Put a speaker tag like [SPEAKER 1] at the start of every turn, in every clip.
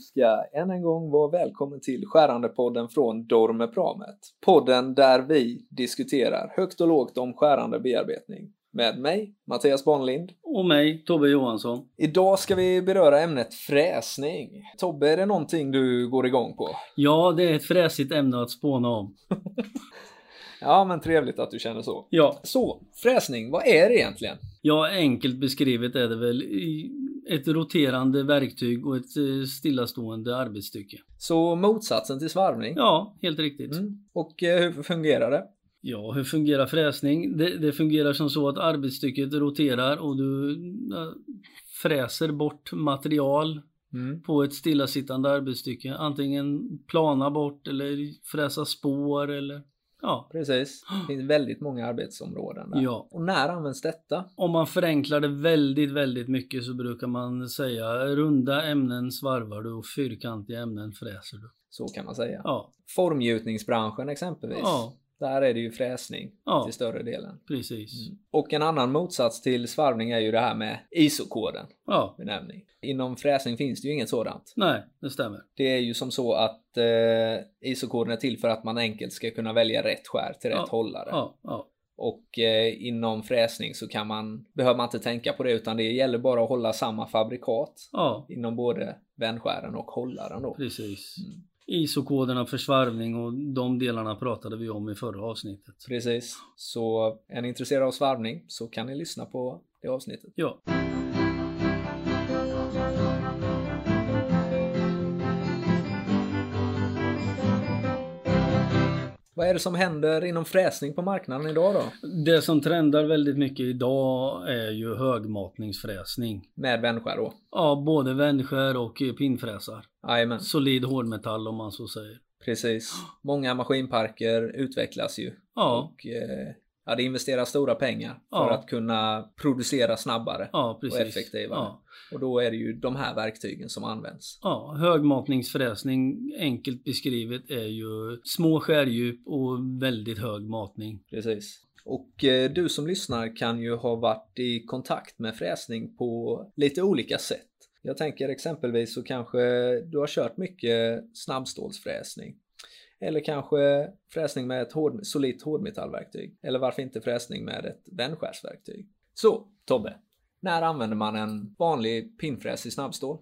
[SPEAKER 1] ska än en gång vara välkommen till Skärandepodden från Dormepramet. Podden där vi diskuterar högt och lågt om skärande bearbetning. Med mig, Mattias Bonlind.
[SPEAKER 2] Och mig, Tobbe Johansson.
[SPEAKER 1] Idag ska vi beröra ämnet fräsning. Tobbe, är det någonting du går igång på?
[SPEAKER 2] Ja, det är ett fräsigt ämne att spåna om.
[SPEAKER 1] Ja, men trevligt att du känner så.
[SPEAKER 2] Ja,
[SPEAKER 1] Så, fräsning, vad är det egentligen?
[SPEAKER 2] ja enkelt beskrivet är det väl i- ett roterande verktyg och ett eh, stillastående arbetsstycke.
[SPEAKER 1] Så motsatsen till svarvning.
[SPEAKER 2] Ja, helt riktigt.
[SPEAKER 1] Mm. Och eh, hur fungerar det?
[SPEAKER 2] Ja, hur fungerar fräsning? Det, det fungerar som så att arbetsstycket roterar och du eh, fräser bort material
[SPEAKER 1] Mm.
[SPEAKER 2] på ett stillasittande arbetsstycke. Antingen plana bort eller fräsa spår eller ja.
[SPEAKER 1] Precis. Det finns väldigt många arbetsområden där.
[SPEAKER 2] Ja.
[SPEAKER 1] Och när används detta?
[SPEAKER 2] Om man förenklar det väldigt, väldigt mycket så brukar man säga runda ämnen svarvar du och fyrkantiga ämnen fräser du.
[SPEAKER 1] Så kan man säga.
[SPEAKER 2] Ja,
[SPEAKER 1] Formgjutningsbranschen exempelvis.
[SPEAKER 2] ja,
[SPEAKER 1] Där är det ju fräsning
[SPEAKER 2] ja Mm.
[SPEAKER 1] till större delen.
[SPEAKER 2] precis.
[SPEAKER 1] Och en annan motsats till svarvning är ju det här med ISO-koden
[SPEAKER 2] Ja,
[SPEAKER 1] benämning. Inom fräsning finns det ju inget sådant.
[SPEAKER 2] nej, det stämmer.
[SPEAKER 1] Det är ju som så att eh, ISO-koden är till för att man enkelt ska kunna välja rätt skär till rätt
[SPEAKER 2] Ja,
[SPEAKER 1] hållare.
[SPEAKER 2] Ja, ja,
[SPEAKER 1] Och eh, inom fräsning så kan man, behöver man inte tänka på det utan det gäller bara att hålla samma fabrikat
[SPEAKER 2] ja,
[SPEAKER 1] inom både vändskären och hållaren då.
[SPEAKER 2] precis.
[SPEAKER 1] Mm.
[SPEAKER 2] ISO-koderna för svarvning och de delarna pratade vi om i förra avsnittet.
[SPEAKER 1] Precis. Så är ni intresserade av svarvning så kan ni lyssna på det avsnittet.
[SPEAKER 2] Ja,
[SPEAKER 1] Vad är det som händer inom fräsning på marknaden idag då?
[SPEAKER 2] det som trendar väldigt mycket idag är ju högmatningsfräsning.
[SPEAKER 1] Med vändskär då?
[SPEAKER 2] Ja, både vändskär och eh, pinnfräsar.
[SPEAKER 1] Jajamän,
[SPEAKER 2] Solid hårdmetall om man så säger.
[SPEAKER 1] precis. Många maskinparker utvecklas ju.
[SPEAKER 2] Ja,
[SPEAKER 1] Och eh, ja, det investeras stora pengar för
[SPEAKER 2] Ja.
[SPEAKER 1] att kunna producera snabbare.
[SPEAKER 2] ja precis.
[SPEAKER 1] effektivare.
[SPEAKER 2] Ja,
[SPEAKER 1] Och då är det ju de här verktygen som används.
[SPEAKER 2] ja, högmatningsfräsning enkelt beskrivet är ju små skärdjup och väldigt hög matning.
[SPEAKER 1] Precis. Och eh, du som lyssnar kan ju ha varit i kontakt med fräsning på lite olika sätt. Jag tänker exempelvis så kanske du har kört mycket snabbstålsfräsning. Eller kanske fräsning med ett hård, solitt hårdmetallverktyg. Eller varför inte fräsning med ett vändskärsverktyg. Så, Tobbe. När använder man en vanlig pinnfräs i snabbstål?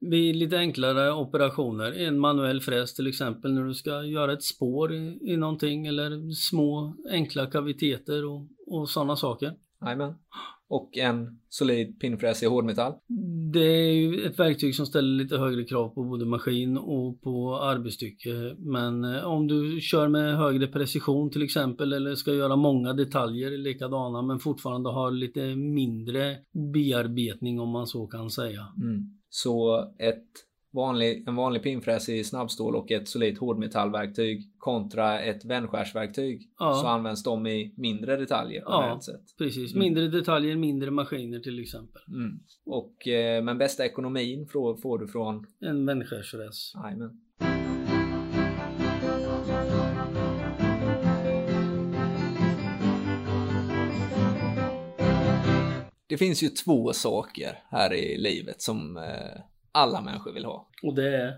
[SPEAKER 2] Vid lite enklare operationer, en manuell fräs till exempel när du ska göra ett spår i, i någonting eller små enkla kaviteter och, och sådana saker.
[SPEAKER 1] Jajamän. Och en solid pinnfräs i hårdmetall?
[SPEAKER 2] Det är ju ett verktyg som ställer lite högre krav på både maskin och på arbetsstycke. Men eh, om du kör med högre precision till exempel eller ska göra många detaljer likadana men fortfarande har lite mindre bearbetning om man så kan säga.
[SPEAKER 1] Mm. Så ett vanlig, en vanlig pinnfräs i snabbstål och ett solitt hårdmetallverktyg kontra ett vändskärsverktyg
[SPEAKER 2] Ja.
[SPEAKER 1] så används de i mindre detaljer
[SPEAKER 2] Ja.
[SPEAKER 1] generellt sett.
[SPEAKER 2] Precis,
[SPEAKER 1] Mm.
[SPEAKER 2] mindre detaljer, mindre maskiner till exempel.
[SPEAKER 1] Mm. Och, eh, men bästa ekonomin frå- får du från
[SPEAKER 2] En vändskärsräs.
[SPEAKER 1] Jajamän. Det finns ju två saker här i livet som eh, alla människor vill ha.
[SPEAKER 2] Och det är...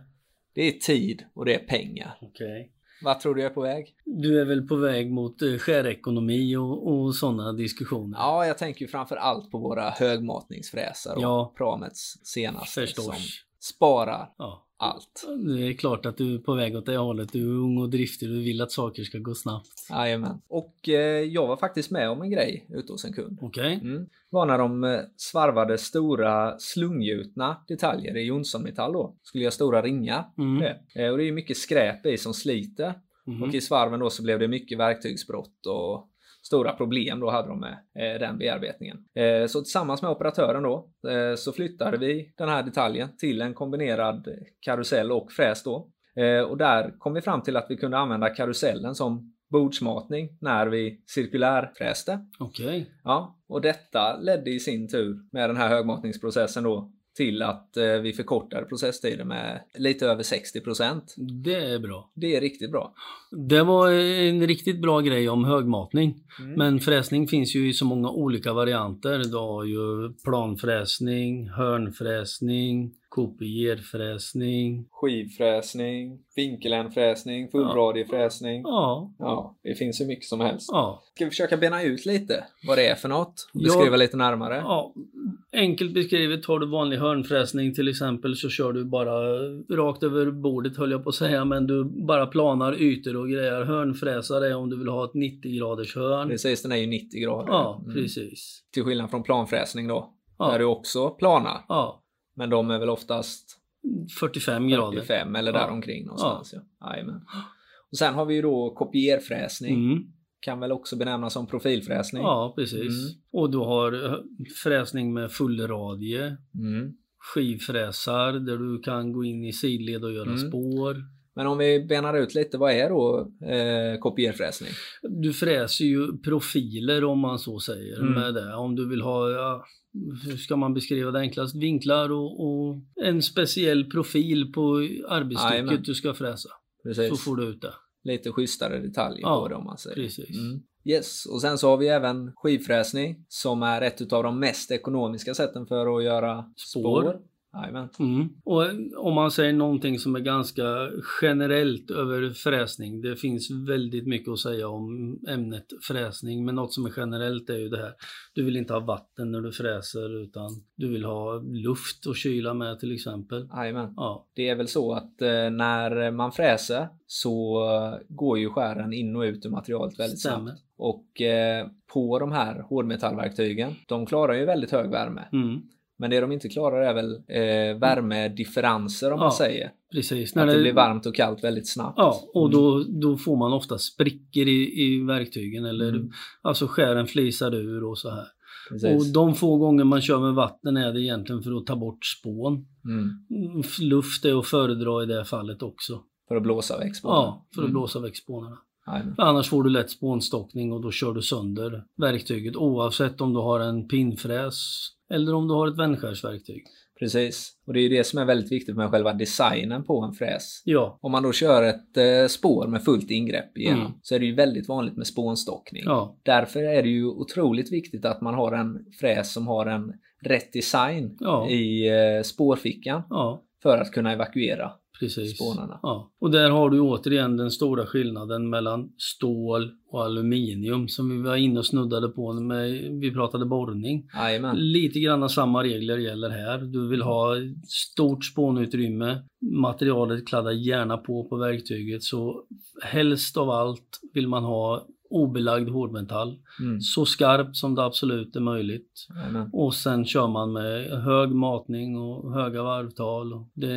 [SPEAKER 1] Det är tid och det är pengar.
[SPEAKER 2] Okej.
[SPEAKER 1] Vad tror du jag är på väg?
[SPEAKER 2] Du är väl på väg mot eh, skärekonomi och, och sådana diskussioner?
[SPEAKER 1] Ja, jag tänker ju framför allt på våra högmatningsfräsar och
[SPEAKER 2] Ja.
[SPEAKER 1] Pramets senaste
[SPEAKER 2] Förstås.
[SPEAKER 1] som sparar
[SPEAKER 2] Ja.
[SPEAKER 1] allt.
[SPEAKER 2] Det är klart att du är på väg åt det hållet. Du är ung och driftig och du vill att saker ska gå snabbt.
[SPEAKER 1] Jajamän. Och eh, jag var faktiskt med om en grej ute hos en kund.
[SPEAKER 2] Okej?
[SPEAKER 1] Mm. var när de eh, svarvade stora slunggjutna detaljer i Jonssonmetall då. Skulle göra stora ringar.
[SPEAKER 2] Mm.
[SPEAKER 1] Eh, Och det är ju mycket skräp i som sliter.
[SPEAKER 2] Mhm.
[SPEAKER 1] Och i svarven då så blev det mycket verktygsbrott och stora problem då hade de med eh, den bearbetningen. Eh, så tillsammans med operatören då eh, så flyttade vi den här detaljen till en kombinerad karusell och fräs då. Eh, och där kom vi fram till att vi kunde använda karusellen som bordsmatning när vi cirkulärfräste.
[SPEAKER 2] Okej.
[SPEAKER 1] Ja, och detta ledde i sin tur med den här högmatningsprocessen då till att eh, vi förkortar processtiden med lite över 60 procent.
[SPEAKER 2] Det är bra.
[SPEAKER 1] Det är riktigt bra.
[SPEAKER 2] Det var en riktigt bra grej om högmatning.
[SPEAKER 1] Mm.
[SPEAKER 2] Men fräsning finns ju i så många olika varianter. Du har ju planfräsning, hörnfräsning, kopierfräsning.
[SPEAKER 1] Skivfräsning, vinkelänfräsning, fullradiefräsning.
[SPEAKER 2] Ja,
[SPEAKER 1] Ja, det finns ju mycket som helst.
[SPEAKER 2] ja,
[SPEAKER 1] Ska vi försöka bena ut lite vad det är för något? Och beskriva
[SPEAKER 2] Ja.
[SPEAKER 1] lite närmare?
[SPEAKER 2] ja. Enkelt beskrivet, har du vanlig hörnfräsning till exempel så kör du bara rakt över bordet höll jag på att säga, men du bara planar ytor och grejer. Hörnfräsare är om du vill ha ett 90 graders hörn.
[SPEAKER 1] Precis, den är ju 90 grader.
[SPEAKER 2] Ja,
[SPEAKER 1] Mm.
[SPEAKER 2] precis.
[SPEAKER 1] Till skillnad från planfräsning då. Där är
[SPEAKER 2] Ja,
[SPEAKER 1] du också planar.
[SPEAKER 2] ja.
[SPEAKER 1] Men de är väl oftast
[SPEAKER 2] 45 grader.
[SPEAKER 1] 45 eller
[SPEAKER 2] Ja.
[SPEAKER 1] däromkring någonstans. Ja. Jajamän. Och sen har vi ju då kopierfräsning.
[SPEAKER 2] Mm.
[SPEAKER 1] Kan väl också benämnas som profilfräsning.
[SPEAKER 2] Ja, precis.
[SPEAKER 1] Mm.
[SPEAKER 2] Och du har eh, fräsning med fullradie,
[SPEAKER 1] Mm.
[SPEAKER 2] skivfräsar där du kan gå in i sidled och göra
[SPEAKER 1] Mm.
[SPEAKER 2] spår.
[SPEAKER 1] Men om vi benar ut lite, vad är då eh, kopierfräsning?
[SPEAKER 2] Du fräser ju profiler om man så säger
[SPEAKER 1] Mm.
[SPEAKER 2] med det. Om du vill ha, ja, hur ska man beskriva det enklast, vinklar och, och en speciell profil på arbetsstycket
[SPEAKER 1] Jajamän.
[SPEAKER 2] du ska fräsa.
[SPEAKER 1] Precis.
[SPEAKER 2] Så får du ut det.
[SPEAKER 1] Lite schysstare detaljer
[SPEAKER 2] Ja,
[SPEAKER 1] på det om man säger.
[SPEAKER 2] Precis.
[SPEAKER 1] Mm. Yes, och sen så har vi även skivfräsning som är ett utav de mest ekonomiska sätten för att göra
[SPEAKER 2] Spår.
[SPEAKER 1] spår. Jajamän.
[SPEAKER 2] Mm. Och om man säger någonting som är ganska generellt över fräsning. Det finns väldigt mycket att säga om ämnet fräsning. Men något som är generellt är ju det här. Du vill inte ha vatten när du fräser utan du vill ha luft och kyla med till exempel.
[SPEAKER 1] Jajamän.
[SPEAKER 2] Ja,
[SPEAKER 1] Det är väl så att eh, när man fräser så eh, går ju skären in och ut ur materialet väldigt
[SPEAKER 2] stämmer.
[SPEAKER 1] snabbt. Och eh, på de här hårdmetallverktygen, de klarar ju väldigt hög värme.
[SPEAKER 2] Mm.
[SPEAKER 1] Men det de inte klarar är väl eh, värmedifferenser om
[SPEAKER 2] Ja,
[SPEAKER 1] man säger.
[SPEAKER 2] Precis.
[SPEAKER 1] Att det blir varmt och kallt väldigt snabbt.
[SPEAKER 2] Ja, och
[SPEAKER 1] Mm.
[SPEAKER 2] då, då får man ofta sprickor i, i verktygen eller
[SPEAKER 1] Mm.
[SPEAKER 2] alltså skären flisar ur och så här.
[SPEAKER 1] Precis.
[SPEAKER 2] Och de få gånger man kör med vatten är det egentligen för att ta bort spån.
[SPEAKER 1] Mm.
[SPEAKER 2] Mm, Luft är att föredra i det här fallet också.
[SPEAKER 1] För att blåsa väck spåren.
[SPEAKER 2] Ja, för att
[SPEAKER 1] Mm.
[SPEAKER 2] blåsa väck spånarna.
[SPEAKER 1] Jajamän.
[SPEAKER 2] Annars får du lätt spånstockning och då kör du sönder verktyget oavsett om du har en pinnfräs eller om du har ett vändskärsverktyg.
[SPEAKER 1] Precis. Och det är ju det som är väldigt viktigt med själva designen på en fräs.
[SPEAKER 2] Ja,
[SPEAKER 1] Om man då kör ett eh, spår med fullt ingrepp igenom
[SPEAKER 2] Mm.
[SPEAKER 1] så är det ju väldigt vanligt med spånstockning.
[SPEAKER 2] ja,
[SPEAKER 1] Därför är det ju otroligt viktigt att man har en fräs som har en rätt design
[SPEAKER 2] Ja.
[SPEAKER 1] i eh, spårfickan
[SPEAKER 2] ja,
[SPEAKER 1] för att kunna evakuera.
[SPEAKER 2] precis.
[SPEAKER 1] Spånarna.
[SPEAKER 2] Ja. Och där har du återigen den stora skillnaden mellan stål och aluminium som vi var inne och snuddade på när vi pratade borrning.
[SPEAKER 1] Jajamän.
[SPEAKER 2] Lite grann samma regler gäller här. Du vill ha stort spånutrymme. Materialet kladdar gärna på på verktyget så helst av allt vill man ha obelagd hårdmetall.
[SPEAKER 1] Mm.
[SPEAKER 2] Så skarpt som det absolut är möjligt.
[SPEAKER 1] Jajamän.
[SPEAKER 2] Och sen kör man med hög matning och höga varvtal. Det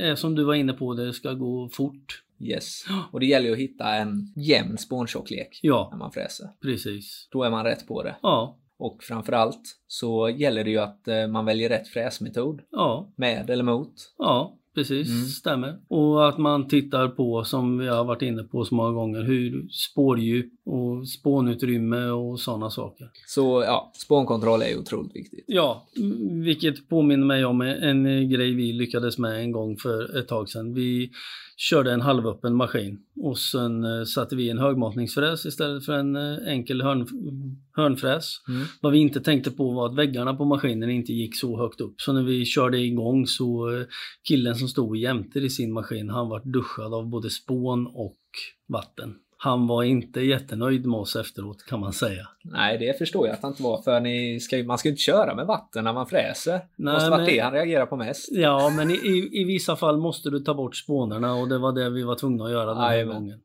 [SPEAKER 2] är som du var inne på, det ska gå fort.
[SPEAKER 1] Yes. Och det gäller ju att hitta en jämn spåntjocklek när
[SPEAKER 2] Ja,
[SPEAKER 1] man fräser.
[SPEAKER 2] precis.
[SPEAKER 1] Då är man rätt på det.
[SPEAKER 2] Ja,
[SPEAKER 1] Och framförallt så gäller det ju att eh, man väljer rätt fräsmetod.
[SPEAKER 2] ja,
[SPEAKER 1] Med eller mot.
[SPEAKER 2] Ja, precis.
[SPEAKER 1] Mm.
[SPEAKER 2] Stämmer. Och att man tittar på, som vi har varit inne på så många gånger, hur spårdjup och spånutrymme och sådana saker.
[SPEAKER 1] Så ja, spånkontroll är ju otroligt viktigt.
[SPEAKER 2] Ja, mm, vilket påminner mig om en eh, grej vi lyckades med en gång för ett tag sedan. Vi körde en halvöppen maskin och sen eh, satte vi en högmatningsfräs istället för en eh, enkel hörn, hörnfräs.
[SPEAKER 1] Mm.
[SPEAKER 2] Vad vi inte tänkte på var att väggarna på maskinen inte gick så högt upp. Så när vi körde igång så eh, killen som stod jämte i sin maskin, han var duschad av både spån och vatten. Han var inte jättenöjd med oss efteråt kan man säga.
[SPEAKER 1] Nej, det förstår jag att han inte var. För ni ska, ju- man ska ju inte köra med vatten när man fräser. Det
[SPEAKER 2] Nej,
[SPEAKER 1] måste varit
[SPEAKER 2] men-
[SPEAKER 1] det han reagerar på mest.
[SPEAKER 2] Ja, men i, i, i vissa fall måste du ta bort spånarna och det var det vi var tvungna att göra den här
[SPEAKER 1] Jajamän.
[SPEAKER 2] gången.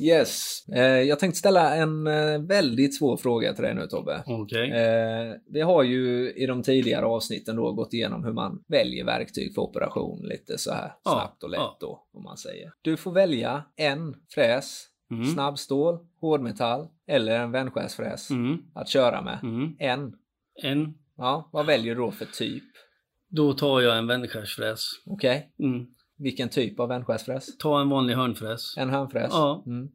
[SPEAKER 1] Yes. Eh, jag tänkte ställa en eh, väldigt svår fråga till dig nu Tobbe.
[SPEAKER 2] Okej.
[SPEAKER 1] Eh, vi har ju i de tidigare avsnitten då gått igenom hur man väljer verktyg för operation lite så här
[SPEAKER 2] Ja,
[SPEAKER 1] snabbt och lätt
[SPEAKER 2] ja.
[SPEAKER 1] då, om man säger. Du får välja en fräs,
[SPEAKER 2] Mm.
[SPEAKER 1] snabbstål, hårdmetall eller en vändskärsfräs
[SPEAKER 2] Mm.
[SPEAKER 1] att köra med.
[SPEAKER 2] Mm.
[SPEAKER 1] En.
[SPEAKER 2] En.
[SPEAKER 1] Ja, vad väljer du då för typ?
[SPEAKER 2] Då tar jag en vändskärsfräs.
[SPEAKER 1] Okej.
[SPEAKER 2] Mm.
[SPEAKER 1] Vilken typ av vändskärsfräs?
[SPEAKER 2] Ta en vanlig hörnfräs.
[SPEAKER 1] En hörnfräs?
[SPEAKER 2] Ja.
[SPEAKER 1] Mm.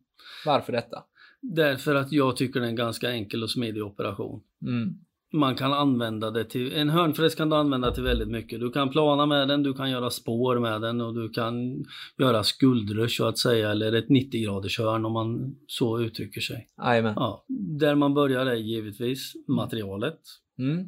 [SPEAKER 1] Varför detta?
[SPEAKER 2] Därför att jag tycker det är en ganska enkel och smidig operation.
[SPEAKER 1] Mm.
[SPEAKER 2] Man kan använda det till, en hörnfräs kan du använda till väldigt mycket. Du kan plana med den, du kan göra spår med den och du kan göra skuldror så att säga, eller ett 90-graders hörn om man så uttrycker sig.
[SPEAKER 1] Jajamän.
[SPEAKER 2] Ja, där man börjar är givetvis materialet.
[SPEAKER 1] Mm.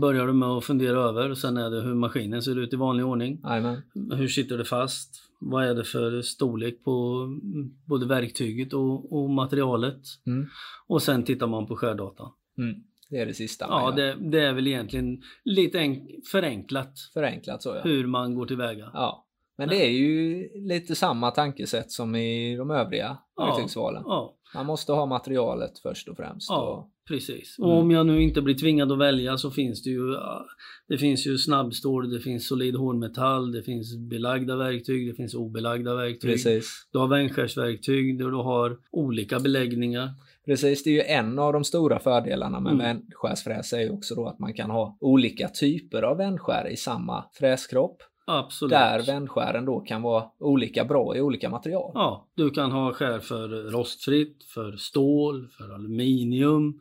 [SPEAKER 2] Börjar du med att fundera över, sen är det hur maskinen ser ut i vanlig ordning.
[SPEAKER 1] Jajamän.
[SPEAKER 2] Hur sitter det fast? Vad är det för storlek på mm, både verktyget och, och materialet?
[SPEAKER 1] Mm.
[SPEAKER 2] Och sen tittar man på skärdata.
[SPEAKER 1] Mm. Det är det sista.
[SPEAKER 2] Ja,
[SPEAKER 1] man gör.
[SPEAKER 2] det, det är väl egentligen lite enk- förenklat
[SPEAKER 1] Förenklat så ja.
[SPEAKER 2] hur man går tillväga.
[SPEAKER 1] ja. Men det är ju lite samma tankesätt som i de övriga
[SPEAKER 2] Ja.
[SPEAKER 1] verktygsvalen.
[SPEAKER 2] Ja,
[SPEAKER 1] Man måste ha materialet först och främst.
[SPEAKER 2] ja precis.
[SPEAKER 1] Mm.
[SPEAKER 2] Och om jag nu inte blir tvingad att välja så finns det ju ah, Det finns ju snabbstål, det finns solid hårdmetall, det finns belagda verktyg, det finns obelagda
[SPEAKER 1] Och...
[SPEAKER 2] verktyg.
[SPEAKER 1] Precis.
[SPEAKER 2] Du har vändskärsverktyg där du har olika beläggningar.
[SPEAKER 1] Precis, det är ju en av de stora fördelarna med
[SPEAKER 2] Mm.
[SPEAKER 1] vändskärsfräs är ju också då att man kan ha olika typer av vändskär i samma fräskropp.
[SPEAKER 2] Absolut.
[SPEAKER 1] Där vändskären då kan vara olika bra i olika material.
[SPEAKER 2] Ja, du kan ha skär för rostfritt, för stål, för aluminium,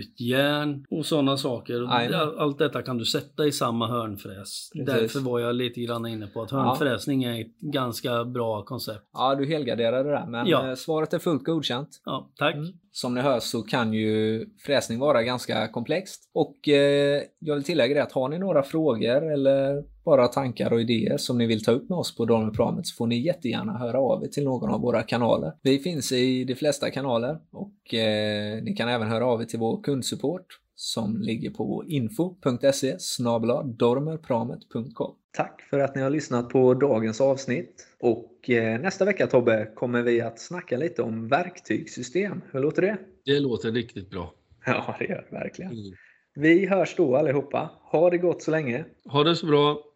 [SPEAKER 2] gjutjärn och sådana saker. Och
[SPEAKER 1] Jajamän.
[SPEAKER 2] all- Allt detta kan du sätta i samma hörnfräs.
[SPEAKER 1] Precis.
[SPEAKER 2] Därför var jag lite grann inne på att
[SPEAKER 1] Ja.
[SPEAKER 2] hörnfräsning är ett ganska bra koncept.
[SPEAKER 1] Ja, du helgarderade där, men
[SPEAKER 2] Ja.
[SPEAKER 1] eh, svaret är fullt godkänt.
[SPEAKER 2] Ja, tack.
[SPEAKER 1] Mm. Som ni hör så kan ju fräsning vara ganska komplext. Och eh, jag vill tillägga det att har ni några frågor eller bara tankar och idéer som ni vill ta upp med oss på Daniel Pramet så får ni jättegärna höra av er till någon av våra kanaler. Vi finns i de flesta kanaler och eh, ni kan även höra av er till vår kundsupport som ligger på info.se snabla dormerpramet.com. Tack för att ni har lyssnat på dagens avsnitt. Och eh, nästa vecka Tobbe kommer vi att snacka lite om verktygssystem. Hur låter det?
[SPEAKER 2] Det låter riktigt bra. Mm.
[SPEAKER 1] Ja, det gör det verkligen. Vi hörs då allihopa. Ha det gott så länge.
[SPEAKER 2] Ha det så bra.